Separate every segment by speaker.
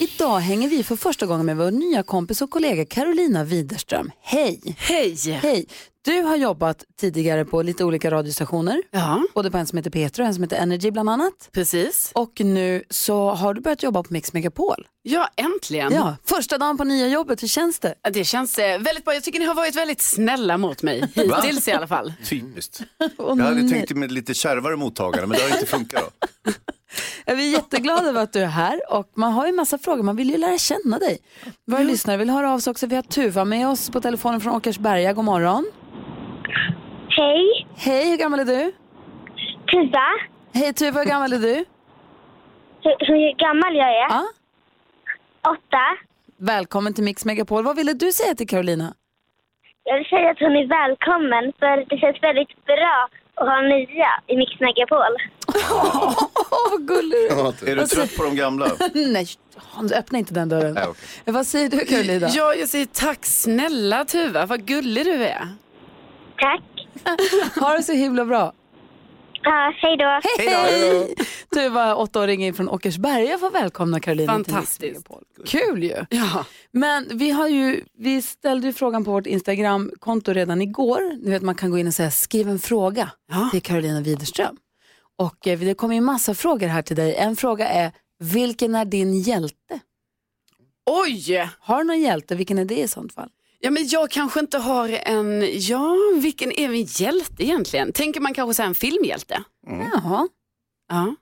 Speaker 1: Idag hänger vi för första gången med vår nya kompis och kollega Carolina Widerström. Hej!
Speaker 2: Hej!
Speaker 1: Hej! Du har jobbat tidigare på lite olika radiostationer.
Speaker 2: Ja,
Speaker 1: Både på en som heter Petro och en som heter Energy bland annat.
Speaker 2: precis.
Speaker 1: Och nu så har du börjat jobba på Mix Megapol.
Speaker 2: Ja, äntligen.
Speaker 1: Ja, första dagen på nya jobbet, hur känns det?
Speaker 2: Det känns eh, väldigt bra. Jag tycker ni har varit väldigt snälla mot mig. Hittills i alla fall.
Speaker 3: Typiskt. Jag
Speaker 1: Mm.
Speaker 3: hade tänkt med lite kärvare mottagare, men det har inte funkat. Då.
Speaker 1: Vi är jätteglada över att du är här och man har ju massa frågor, man vill ju lära känna dig. Våra lyssnare vill höra av sig också. Vi har Tuva med oss på telefonen från Åkersberga, god morgon.
Speaker 4: Hej,
Speaker 1: Hej, hur gammal är du?
Speaker 4: Tuva.
Speaker 1: Hej Tuva, hur gammal är du?
Speaker 4: Hur, hur gammal jag är?
Speaker 1: Ja.
Speaker 4: Åtta.
Speaker 1: Välkommen till Mix Megapol. Vad ville du säga till Carolina?
Speaker 4: Jag vill säga att hon är välkommen för det känns väldigt bra att ha nya i Mix Megapol.
Speaker 1: Åh, vad gullig du är.
Speaker 3: Är du trött på de gamla?
Speaker 1: Nej, Hans, öppna inte den dörren.
Speaker 3: Nej, okej.
Speaker 1: Vad säger du Carolina?
Speaker 2: Ja, jag säger tack snälla Tuva. Vad gullig du är.
Speaker 4: Tack.
Speaker 1: Ha det så himla bra.
Speaker 4: Ja, hej då.
Speaker 1: Hej! Du var åttaåring in från Åkersberga får välkomna Carolina till Mix
Speaker 2: Fantastiskt.
Speaker 1: Megapol. Kul ju!
Speaker 2: Ja.
Speaker 1: Men vi, har ju, vi ställde ju frågan på vårt Instagram-konto redan igår. Ni vet man kan gå in och säga skriv en fråga
Speaker 2: Ja.
Speaker 1: till Carolina Widerström. Och eh, det kommer ju massa frågor här till dig. En fråga är, vilken är din hjälte?
Speaker 2: Oj!
Speaker 1: Har du någon hjälte? Vilken är det i sånt fall?
Speaker 2: Ja, men jag kanske inte har en... Ja, vilken är min hjälte egentligen? Tänker man kanske säga en filmhjälte?
Speaker 1: Jaha.
Speaker 2: Ja.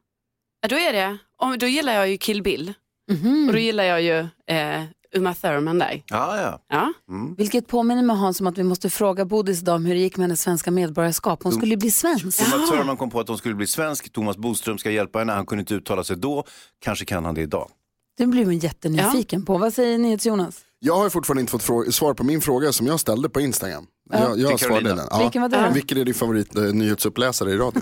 Speaker 2: ja då är det... Om, då gillar jag ju Kill Bill.
Speaker 1: Mhm.
Speaker 2: Och då gillar jag ju eh, Uma Thurman där.
Speaker 3: Ja, ja. Mm.
Speaker 2: Ja.
Speaker 1: Vilket påminner mig Hans om att vi måste fråga Bodis idag om hur det gick med hennes svenska medborgarskap. Hon skulle ju bli svensk.
Speaker 3: Thomas Törman kom på att hon skulle bli svensk. Thomas Bodström ska hjälpa henne. Han kunde inte uttala sig då. Kanske kan han det idag.
Speaker 1: Det blir man jättenyfiken på. Vad säger ni till Jonas?
Speaker 5: Jag har fortfarande inte fått frå- svar på min fråga som jag ställde på Instagram. Jag, jag
Speaker 3: Till Carolina.
Speaker 5: svarade den. Ja.
Speaker 1: Vilken var det då?
Speaker 5: Vilken är din favorit eh, nyhetsuppläsare i radio?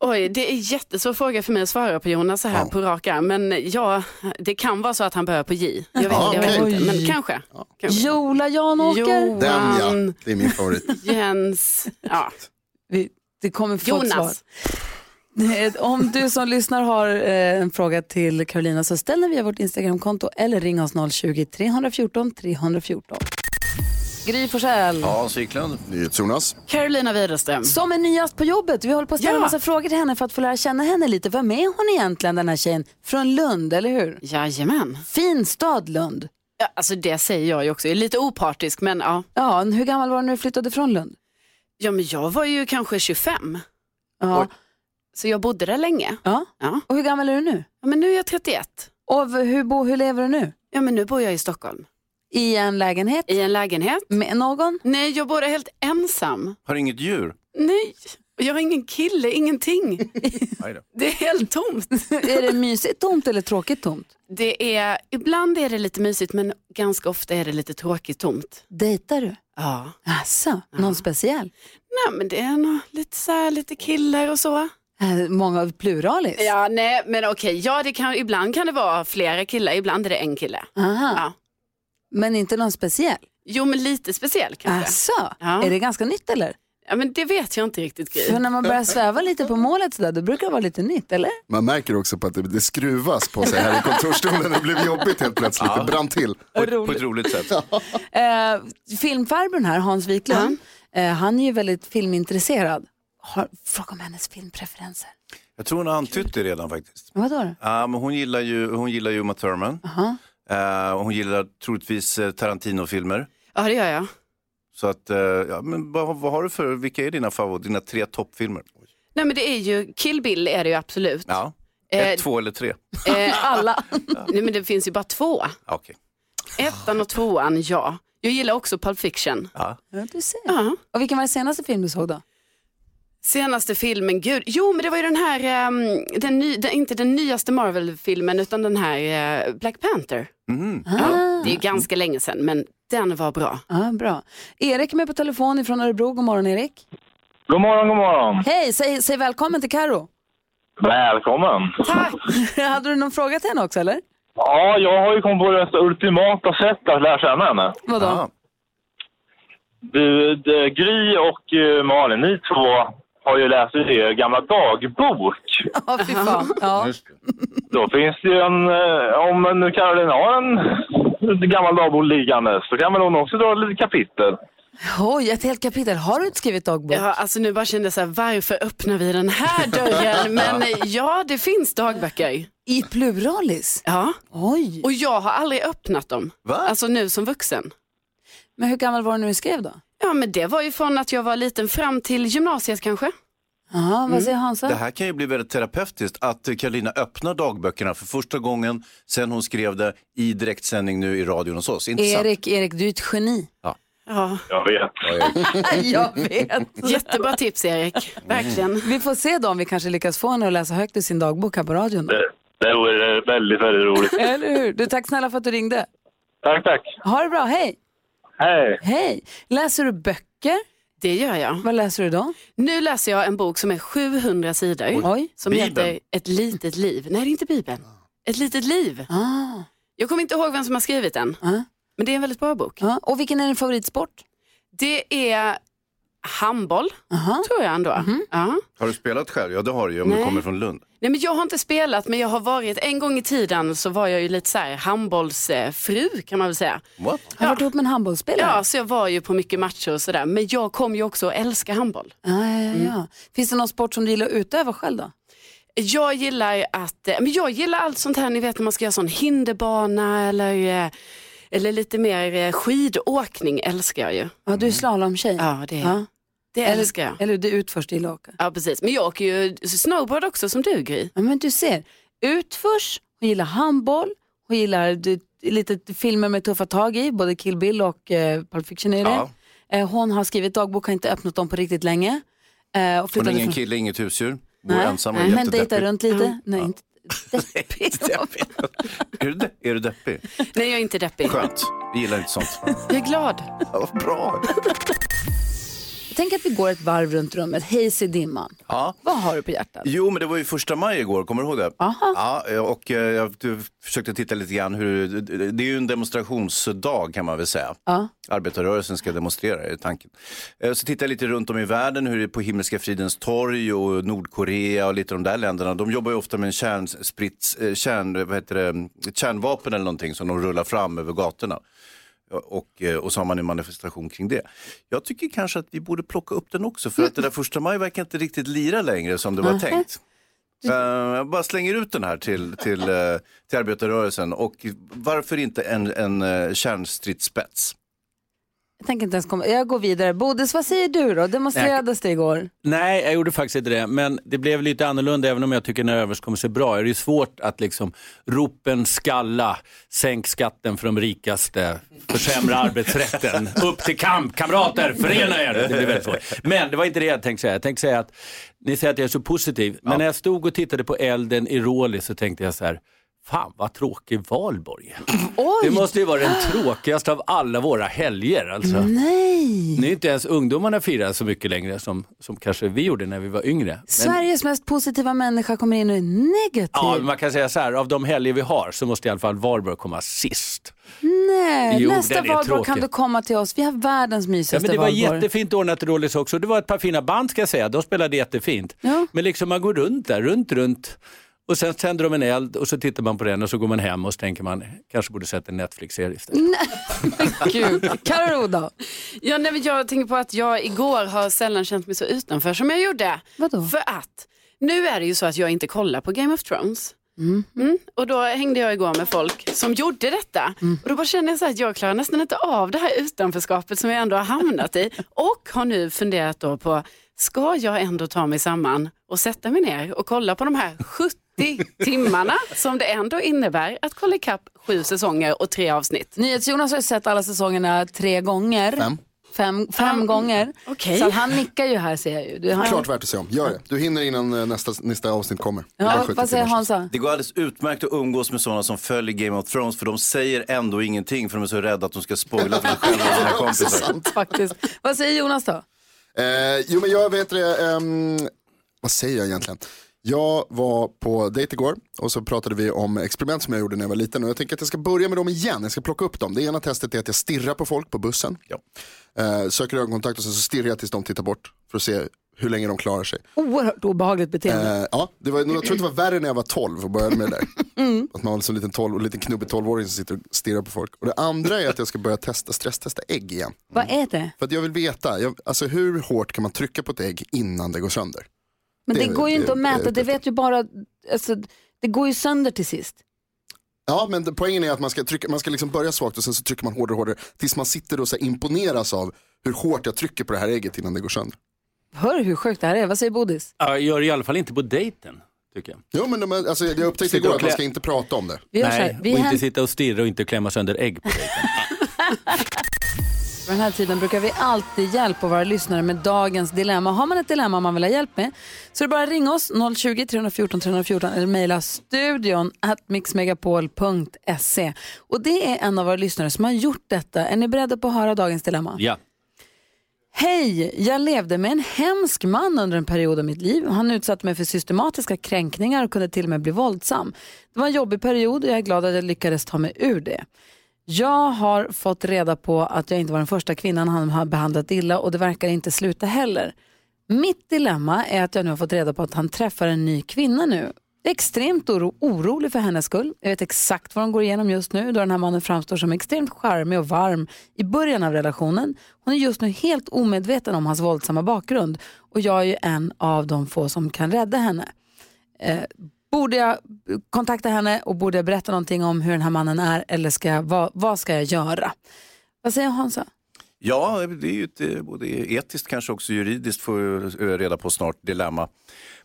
Speaker 2: Oj, det är en jättesvår fråga för mig att svara på Jonas så här på rak arm. Men ja, det kan vara så att han börjar på J. Jag vet,
Speaker 5: Ja,
Speaker 2: jag vet
Speaker 5: okej.
Speaker 2: inte, men kanske. kanske.
Speaker 1: Jola Janåker?
Speaker 2: Johan,
Speaker 5: Den ja, det är min favorit.
Speaker 2: Jens, ja.
Speaker 1: Vi, det kommer få ett svar.
Speaker 2: Jonas.
Speaker 1: Nej, Eh, Om du som lyssnar har eh, en fråga till Carolina så ställ den via vårt Instagramkonto eller ring oss 020-314 314. Gry Forssell.
Speaker 3: Hans Wiklund.
Speaker 5: NyhetsJonas.
Speaker 2: Carolina Widerström.
Speaker 1: Som är nyast på jobbet. Vi håller på att ställa
Speaker 2: Ja.
Speaker 1: en massa frågor till henne för att få lära känna henne lite. Vem är hon egentligen den här tjejen? Från Lund, eller hur?
Speaker 2: Jajamän.
Speaker 1: Fin stad Lund.
Speaker 2: Ja, alltså det säger jag ju också. Jag är lite opartisk, men ja.
Speaker 1: Ja, hur gammal var du när du flyttade från Lund?
Speaker 2: Ja, men jag var ju kanske 25,
Speaker 1: Ja.
Speaker 3: Oj.
Speaker 2: så jag bodde där länge.
Speaker 1: ja.
Speaker 2: Ja.
Speaker 1: Och hur gammal är du nu?
Speaker 2: ja men nu är jag 31.
Speaker 1: Och v- hur, bo, hur lever du nu?
Speaker 2: Ja, men nu bor jag i Stockholm.
Speaker 1: I en lägenhet?
Speaker 2: I en lägenhet.
Speaker 1: Med någon?
Speaker 2: Nej, jag bor där helt ensam.
Speaker 3: Har inget djur?
Speaker 2: Nej, och jag har ingen kille, ingenting.
Speaker 3: Nej då.
Speaker 2: Det är helt tomt.
Speaker 1: är det mysigt tomt eller tråkigt tomt?
Speaker 2: Det är, ibland är det lite mysigt men ganska ofta är det lite tråkigt tomt.
Speaker 1: Dejtar du?
Speaker 2: Ja.
Speaker 1: Alltså, någon speciell?
Speaker 2: Nej men det är nog lite så här, lite killar och så.
Speaker 1: Eh, Många av pluralis?
Speaker 2: Ja, nej men okej, ja det kan, ibland kan det vara flera killar, ibland är det en kille.
Speaker 1: Aha.
Speaker 2: Ja.
Speaker 1: Men inte någon speciell?
Speaker 2: Jo men lite speciell kanske.
Speaker 1: Alltså,
Speaker 2: Ja.
Speaker 1: är det ganska nytt eller?
Speaker 2: Ja men det vet jag inte riktigt
Speaker 1: För
Speaker 2: Gry.
Speaker 1: när man börjar sväva lite på målet sådär, då brukar det vara lite nytt, eller?
Speaker 5: Man märker också på att det, det skruvas på sig här i kontorsstolen. Det blev jobbigt helt plötsligt. Det brann till.
Speaker 3: På, ett- på ett roligt sätt.
Speaker 1: Eh, filmfarbrorn här, Hans Wiklund, eh, han är ju väldigt filmintresserad. Har, fråga om hennes filmpreferenser.
Speaker 3: Jag tror hon har antytt det redan faktiskt.
Speaker 1: Vadå då?
Speaker 3: Ja, men hon, gillar ju, hon gillar ju Uma Thurman. Eh, och hon gillar troligtvis eh, Tarantino-filmer.
Speaker 2: Ja det gör jag.
Speaker 3: Så att, eh, ja, men vad, vad har du för, vilka är dina favorit, dina tre toppfilmer?
Speaker 2: Nej men det är ju, Kill Bill är det ju absolut.
Speaker 3: Ja.
Speaker 2: Eh,
Speaker 3: Ett, två eller tre?
Speaker 2: Eh,
Speaker 1: Alla.
Speaker 2: nej men det finns ju bara två.
Speaker 3: Ja, Okej.
Speaker 2: Ettan och tvåan, ja. Jag gillar också Pulp Fiction.
Speaker 3: Ja.
Speaker 1: Ja, du ser.
Speaker 2: Ja.
Speaker 1: Och vilken var den senaste film du såg då?
Speaker 2: Senaste filmen, gud. Jo men det var ju den här, ehm, den ny, den, inte den nyaste Marvel-filmen utan den här eh, Black Panther.
Speaker 3: Mhm.
Speaker 2: Ja, det är ju ganska länge sedan men den var bra.
Speaker 1: Ja, bra. Erik är med på telefon ifrån Örebro. God morgon Erik.
Speaker 6: God morgon, god morgon.
Speaker 1: Hej, säg, säg välkommen till Karo.
Speaker 6: Välkommen.
Speaker 2: Tack!
Speaker 1: Hade du någon fråga till henne också eller?
Speaker 6: Ja, jag har ju kommit på det mest ultimata sättet att lära känna henne.
Speaker 1: Vadå?
Speaker 3: Ah,
Speaker 6: Du, d- Gry och eh, Malin, ni två har ju läst i er gamla dagbok.
Speaker 1: Ja, fy fan. Ja.
Speaker 5: Just det.
Speaker 6: Då finns det ju en, eh, om man nu Caroline har en gammal dagbok liggande så kan väl hon också dra lite kapitel.
Speaker 1: Oj, ett helt kapitel. Har du inte skrivit dagbok?
Speaker 2: Ja, alltså nu bara kände jag så här, varför öppnar vi den här dörren? Men eh, ja, det finns dagböcker.
Speaker 1: I pluralis?
Speaker 2: Ja,
Speaker 1: Oj.
Speaker 2: och jag har aldrig öppnat dem.
Speaker 3: Va?
Speaker 2: Alltså nu som vuxen.
Speaker 1: Men hur gammal var du när du skrev då?
Speaker 2: Ja, men det var ju från att jag var liten fram till gymnasiet kanske.
Speaker 1: Aha, Vad säger Hansa?
Speaker 3: det här kan ju bli väldigt terapeutiskt att eh, Karolina öppnar dagböckerna för första gången sen hon skrev det i direktsändning nu i radion hos oss. Intressant.
Speaker 1: Erik, Erik, du är ett geni.
Speaker 2: Ja,
Speaker 6: Jag vet.
Speaker 1: Jag vet.
Speaker 2: jättebra tips Erik, Mm. verkligen.
Speaker 1: Vi får se då om vi kanske lyckas få henne att läsa högt ur sin dagbok här på radion. Då.
Speaker 6: Det- Det vore väldigt, väldigt roligt.
Speaker 1: Eller hur? Du, tack snälla för att du ringde.
Speaker 6: Tack, tack.
Speaker 1: Ha det bra, hej!
Speaker 6: Hej.
Speaker 1: Hej! Läser du böcker?
Speaker 2: Det gör jag.
Speaker 1: Vad läser du då?
Speaker 2: Nu läser jag en bok som är 700 sidor.
Speaker 1: Oj.
Speaker 2: Som
Speaker 3: Bibeln.
Speaker 2: heter Ett litet liv. Nej, det är inte Bibeln. Ett litet liv.
Speaker 1: Ah,
Speaker 2: Jag kommer inte ihåg vem som har skrivit den,
Speaker 1: ah,
Speaker 2: men det är en väldigt bra bok.
Speaker 1: ah. Och vilken är din favoritsport?
Speaker 2: Det är handboll,
Speaker 1: Aha.
Speaker 2: tror jag ändå. Ja.
Speaker 3: Har du spelat själv? Ja, det har du ju om du
Speaker 2: Nej.
Speaker 3: kommer från Lund.
Speaker 2: Nej, men jag har inte spelat, men jag har varit, en gång i tiden så var jag ju lite så här handbollsfru kan man väl säga.
Speaker 3: What?
Speaker 1: Har du varit ihop med en handbollsspelare?
Speaker 2: Ja, så jag var ju på mycket matcher och sådär, men jag kom ju också att älska handboll.
Speaker 1: Ah, ja,
Speaker 2: Mm.
Speaker 1: ja, ja. Finns det någon sport som du gillar att utöva själv då?
Speaker 2: Jag gillar att, eh, men jag gillar allt sånt här, ni vet när man ska göra sån hinderbana eller, eh, eller lite mer eh, skidåkning älskar jag ju.
Speaker 1: Ja, du är slalomtjej.
Speaker 2: Mm. Ja, det,
Speaker 1: Ja.
Speaker 2: det älskar jag.
Speaker 1: Eller, eller du utförs, det gillar jag att åka.
Speaker 2: Ja, precis. Men jag åker ju snowboard också som du Gry.
Speaker 1: Ja, men du ser, utförs, hon gillar handboll, hon gillar du, lite filmer med tuffa tag i, både Kill Bill och eh, Pulp Fiction är det.
Speaker 3: Ja.
Speaker 1: Eh, hon har skrivit dagbok, har inte öppnat dem på riktigt länge. Eh, och
Speaker 3: Hon är
Speaker 1: flyttade
Speaker 3: ingen
Speaker 1: från-
Speaker 3: kille, inget husdjur. Bor
Speaker 1: Nej,
Speaker 3: ensam och är
Speaker 1: nej, men dejtar
Speaker 3: jättedeppig.
Speaker 1: runt lite. Nej, inte deppig.
Speaker 3: Är du, de- är du deppig?
Speaker 2: Nej, jag är inte deppig.
Speaker 3: Skönt. Vi gillar inte sånt.
Speaker 2: Jag är glad.
Speaker 3: Ja, vad bra.
Speaker 1: Tänk att vi går ett varv runt rummet, hejs i dimman.
Speaker 3: Ja.
Speaker 1: Vad har du på hjärtat?
Speaker 3: Jo, men det var ju första maj igår, kommer du ihåg det? Aha. Ja, och eh, jag du, försökte titta lite grann hur, det är ju en demonstrationsdag kan man väl säga.
Speaker 1: Ja.
Speaker 3: Arbetarrörelsen ska demonstrera, är tanken. Eh, Så tittade jag lite runt om i världen, hur det är på Himmelska fridens torg och Nordkorea och lite de där länderna. De jobbar ju ofta med en kärnsprits, eh, kärn, vad heter det, ett kärnvapen eller någonting som de rullar fram över gatorna. Och, eh, och så har man en manifestation kring det. Jag tycker kanske att vi borde plocka upp den också för att det där första maj verkar inte riktigt lira längre som det var tänkt. Eh, Jag bara slänger ut den här till, till, eh, till arbetarrörelsen och varför inte en, en eh, kärnstridsspets?
Speaker 1: Jag tänker inte ens komma, jag går vidare. Bodis, vad säger du då? Demonstrerades det igår?
Speaker 7: Nej, jag gjorde faktiskt inte det. Men det blev lite annorlunda, även om jag tycker den här överenskommelsen är bra. Det är svårt att liksom ropen skalla, sänk skatten för de rikaste, försämra arbetsrätten, upp till kamp, kamrater, förena er. Det blir väldigt svårt. Men det var inte det jag tänkte säga. Jag tänkte säga att, ni säger att jag är så positiv, men när jag stod och tittade på elden i Råli så tänkte jag så här, Fan vad tråkig valborg är." Det måste ju vara den tråkigaste av alla våra helger. Alltså.
Speaker 1: Nej!
Speaker 7: Nu är inte ens ungdomarna firar så mycket längre som, som kanske vi gjorde när vi var yngre. Men,
Speaker 1: Sveriges mest positiva människa kommer in och är negativ.
Speaker 7: ja, men man kan säga så här, av de helger vi har så måste i alla fall Valborg komma sist.
Speaker 1: Nej,
Speaker 7: Jo,
Speaker 1: nästa
Speaker 7: den är
Speaker 1: valborg kan
Speaker 7: tråkig.
Speaker 1: du komma till oss. Vi har världens
Speaker 7: Ja,
Speaker 1: mysigaste
Speaker 7: men det var
Speaker 1: valborg.
Speaker 7: jättefint ordnat i Rålis också. Det var ett par fina band ska jag säga, de spelade jättefint.
Speaker 1: Ja.
Speaker 7: Men liksom man går runt där, runt, runt. Och sen tänder de en eld och så tittar man på den och så går man hem och så tänker man, kanske borde sett en Netflix-serie istället.
Speaker 1: Mm. Kul. Karo då?
Speaker 2: Ja, nej, men jag tänker på att jag igår har sällan känt mig så utanför som jag gjorde.
Speaker 1: Vadå?
Speaker 2: För att nu är det ju så att jag inte kollar på Game of Thrones. Mm. Och då hängde jag igår med folk som gjorde detta. Och då bara kände jag så här att jag klarar nästan inte av det här utanförskapet som jag ändå har hamnat i. Och har nu funderat då på, ska jag ändå ta mig samman och sätta mig ner och kolla på de här 70 timmarna som det ändå innebär att kolla ikapp sju säsonger och tre avsnitt.
Speaker 1: NyhetsJonas har ju sett alla säsongerna tre gånger.
Speaker 5: Fem.
Speaker 1: Fem, fem gånger.
Speaker 2: okej.
Speaker 1: Så han nickar ju här ser jag ju. Du, han,
Speaker 5: Klart värt att se om. Gör det. Du hinner innan eh, nästa, nästa avsnitt kommer. Bara
Speaker 1: ja,
Speaker 5: 70
Speaker 1: vad säger
Speaker 5: timmar.
Speaker 1: Hansa?
Speaker 3: Det går alldeles utmärkt att umgås med sådana som följer Game of Thrones för de säger ändå ingenting för de är så rädda att de ska spoila för sig själva och sina kompisar.
Speaker 1: Sant faktiskt. Vad säger Jonas då?
Speaker 5: Eh, jo, men jag vet det. ehm, vad säger jag egentligen? Jag var på dejt igår och så pratade vi om experiment som jag gjorde när jag var liten. Och jag tänker att jag ska börja med dem igen. Jag ska plocka upp dem. Det ena testet är att jag stirrar på folk på bussen.
Speaker 3: Ja.
Speaker 5: Eh, söker ögonkontakt och sen så stirrar jag tills de tittar bort för att se hur länge de klarar sig.
Speaker 1: Oerhört obehagligt beteende.
Speaker 5: Eh, ja, det var, jag tror att det var värre när jag var 12 och började med det där. Att man var som en liten, 12, och liten knubbig 12-åring som sitter och stirrar på folk. Och det andra är att jag ska börja testa, stresstesta ägg igen.
Speaker 1: Vad är det?
Speaker 5: För att jag vill veta, jag, alltså hur hårt kan man trycka på ett ägg innan det går sönder?
Speaker 1: Men det,
Speaker 5: Det-
Speaker 1: går ju
Speaker 5: det-
Speaker 1: inte att
Speaker 5: det-
Speaker 1: mäta, det
Speaker 5: det-
Speaker 1: vet ju bara, alltså, det går ju sönder till sist.
Speaker 5: Ja, men det- poängen är att man ska, trycka, man ska liksom börja svagt och sen så trycker man hårdare och hårdare tills man sitter och så här imponeras av hur hårt jag trycker på det här ägget innan det går sönder.
Speaker 1: Hör hur sjukt det här är, vad säger Bodis?
Speaker 7: Ja, gör i alla fall inte på dejten, tycker jag.
Speaker 5: Jo, men de, är- alltså, jag upptäckte
Speaker 7: Sitter
Speaker 5: igår
Speaker 7: och
Speaker 5: att man
Speaker 7: klä-
Speaker 5: ska inte prata om det.
Speaker 1: Vi gör så
Speaker 7: Nej,
Speaker 1: här, vi
Speaker 7: och
Speaker 1: hän-
Speaker 7: inte sitta och stirra och inte klämma sönder ägg på dejten.
Speaker 1: På den här tiden brukar vi alltid hjälpa våra lyssnare med dagens dilemma. Har man ett dilemma man vill ha hjälp med så är det bara att ringa oss 020 314 314 eller mejla studion at mixmegapol.se. Och det är en av våra lyssnare som har gjort detta. Är ni beredda på att höra dagens dilemma?
Speaker 7: Ja.
Speaker 1: Hej, jag levde med en hemsk man under en period av mitt liv. Han utsatte mig för systematiska kränkningar och kunde till och med bli våldsam. Det var en jobbig period och jag är glad att jag lyckades ta mig ur det. Jag har fått reda på att jag inte var den första kvinnan han har behandlat illa och det verkar inte sluta heller. Mitt dilemma är att jag nu har fått reda på att han träffar en ny kvinna nu. Jag är extremt oro- orolig för hennes skull. Jag vet exakt vad de går igenom just nu då den här mannen framstår som extremt charmig och varm i början av relationen. Hon är just nu helt omedveten om hans våldsamma bakgrund och jag är ju en av de få som kan rädda henne. Eh, borde jag kontakta henne och borde jag berätta någonting om hur den här mannen är eller ska jag, vad, vad ska jag göra? Vad säger Hansa?
Speaker 3: Ja, det är ju ett, eh, både etiskt kanske också juridiskt får jag reda på snart dilemma.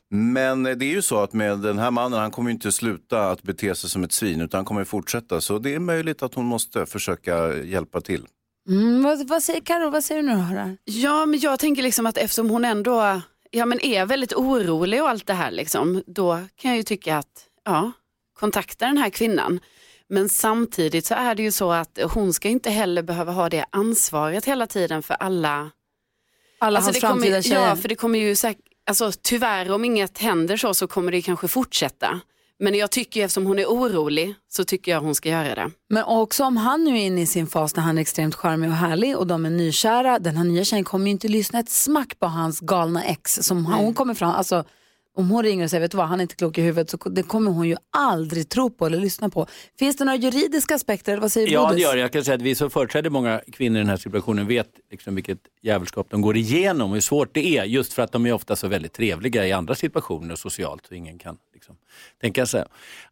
Speaker 3: Men eh, det är ju så att med den här mannen, han kommer ju inte sluta att bete sig som ett svin utan han kommer ju fortsätta. Så det är möjligt att hon måste försöka hjälpa till.
Speaker 1: Mm, vad, vad säger Karo? Vad säger du nu? Hörde?
Speaker 2: Ja, men jag tänker liksom att eftersom hon ändå ja, men är väldigt orolig och allt det här, liksom, då kan jag ju tycka att ja, kontakta den här kvinnan. Men samtidigt så är det ju så att hon ska inte heller behöva ha det ansvaret hela tiden för alla.
Speaker 1: Alla
Speaker 2: Alltså,
Speaker 1: hans
Speaker 2: det kommer,
Speaker 1: framtida tjejer.
Speaker 2: Ja, för det kommer ju säkert, alltså, tyvärr om inget händer så, så kommer det kanske fortsätta. Men jag tycker ju eftersom hon är orolig så tycker jag hon ska göra det.
Speaker 1: Men också om han nu är inne i sin fas när han är extremt charmig och härlig och de är nykära, den här nya tjejen kommer ju inte lyssna ett smack på hans galna ex som han, hon kommer fram, alltså om hon ringer och säger vet du vad, han är inte klok i huvudet så det kommer hon ju aldrig tro på eller lyssna på. Finns det några juridiska aspekter eller vad säger
Speaker 7: Ja,
Speaker 1: Bodis?
Speaker 7: det gör det. Jag kan säga att vi som företräder många kvinnor i den här situationen vet liksom vilket jävelskap de går igenom och hur svårt det är. Just för att de är ofta så väldigt trevliga i andra situationer socialt så ingen kan liksom tänka sig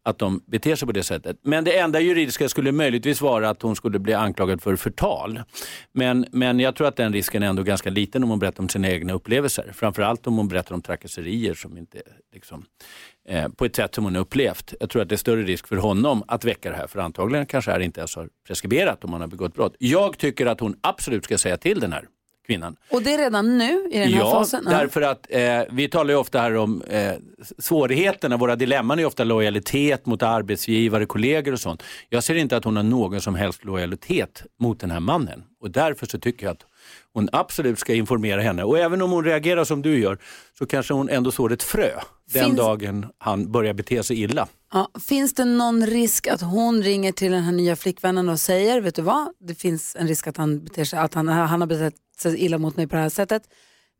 Speaker 7: att de beter sig på det sättet. Men det enda juridiska skulle möjligtvis vara att hon skulle bli anklagad för förtal. Men, men jag tror att den risken är ändå ganska liten om hon berättar om sina egna upplevelser. Framförallt om hon berättar om trakasserier som inte är, liksom, eh, på ett sätt som hon har upplevt. Jag tror att det är större risk för honom att väcka det här, för antagligen kanske det här inte ens har preskriberat om han har begått brott. Jag tycker att hon absolut ska säga till den här kvinnan.
Speaker 1: Och det är redan nu i den här
Speaker 7: ja,
Speaker 1: fasen? Ja.
Speaker 7: därför att eh, vi talar ju ofta här om eh, svårigheterna, våra dilemman är ju ofta lojalitet mot arbetsgivare, kollegor och sånt. Jag ser inte att hon har någon som helst lojalitet mot den här mannen och därför så tycker jag att hon absolut ska informera henne och även om hon reagerar som du gör så kanske hon ändå sår ett frö den
Speaker 1: Finns-
Speaker 7: dagen han börjar bete sig illa.
Speaker 1: Ja, finns det någon risk att hon ringer till den här nya flickvännen och säger, vet du vad, det finns en risk att han, beter sig, att han, han har betett sig illa mot mig på det här sättet.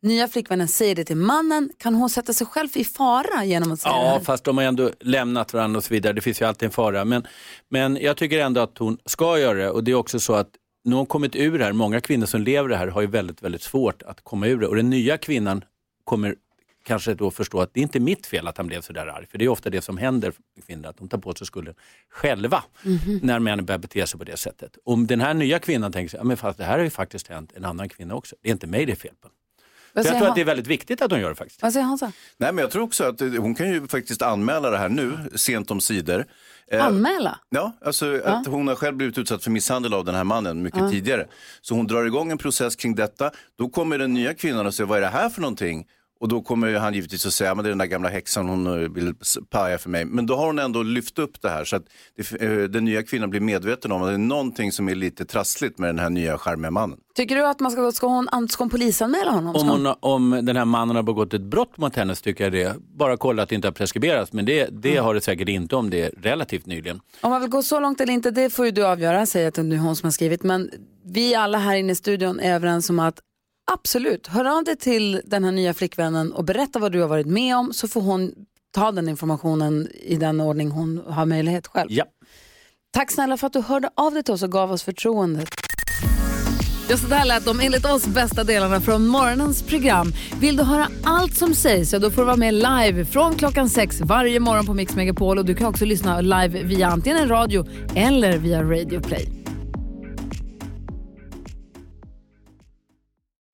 Speaker 1: Nya flickvännen säger det till mannen, kan hon sätta sig själv i fara genom att säga det
Speaker 7: Ja,
Speaker 1: här?
Speaker 7: fast de har ändå lämnat varandra och så vidare. Det finns ju alltid en fara. Men, men jag tycker ändå att hon ska göra det. Och det är också så att när hon kommit ur det här, många kvinnor som lever det här har ju väldigt, väldigt svårt att komma ur det. Och den nya kvinnan kommer kanske då förstå att det är inte mitt fel att han blev så där arg. För det är ju ofta det som händer med kvinnor, att de tar på sig skulden själva
Speaker 1: Mhm.
Speaker 7: när män börjar bete sig på det sättet. Om den här nya kvinnan tänker sig, ja, men fast det här har ju faktiskt hänt en annan kvinna också. Det är inte mig det är fel på.
Speaker 1: Vad
Speaker 7: Så jag
Speaker 1: säger,
Speaker 7: tror
Speaker 1: han,
Speaker 7: att det är väldigt viktigt att hon gör det faktiskt.
Speaker 1: vad säger Hansa?
Speaker 3: Nej, men jag tror också att eh, hon kan ju faktiskt anmäla det här nu, sent om sidor. Eh,
Speaker 1: Anmäla?
Speaker 3: Ja, alltså att hon har själv blivit utsatt för misshandel av den här mannen mycket tidigare. Så hon drar igång en process kring detta. Då kommer den nya kvinnan och säger, vad är det här för någonting? Och då kommer ju han givetvis att säga, men det är den där gamla häxan, hon eh, vill s- paja för mig. Men då har hon ändå lyft upp det här så att det, f- eh, den nya kvinnan blir medveten om att det är någonting som är lite trassligt med den här nya charmiga mannen.
Speaker 1: Tycker du att man ska, ska, hon, an- ska hon polisanmäla honom? Ska
Speaker 7: Om, hon, om den här mannen har begått ett brott mot henne så tycker jag det. Bara kolla att det inte har preskriberats, men det, det har det säkert inte om det är relativt nyligen.
Speaker 1: Om man vill gå så långt eller inte, det får ju du avgöra, säger jag till nu hon som har skrivit. Men vi alla här inne i studion är överens om att absolut, hör av dig till den här nya flickvännen och berätta vad du har varit med om så får hon ta den informationen i den ordning hon har möjlighet själv.
Speaker 7: Ja.
Speaker 1: Tack snälla för att du hörde av dig till oss och gav oss förtroendet. Just det här lät de enligt oss bästa delarna från morgonens program. Vill du höra allt som sägs, ja då får du vara med live från klockan sex varje morgon på Mix Megapol. Och du kan också lyssna live via antingen en radio eller via Radio Play.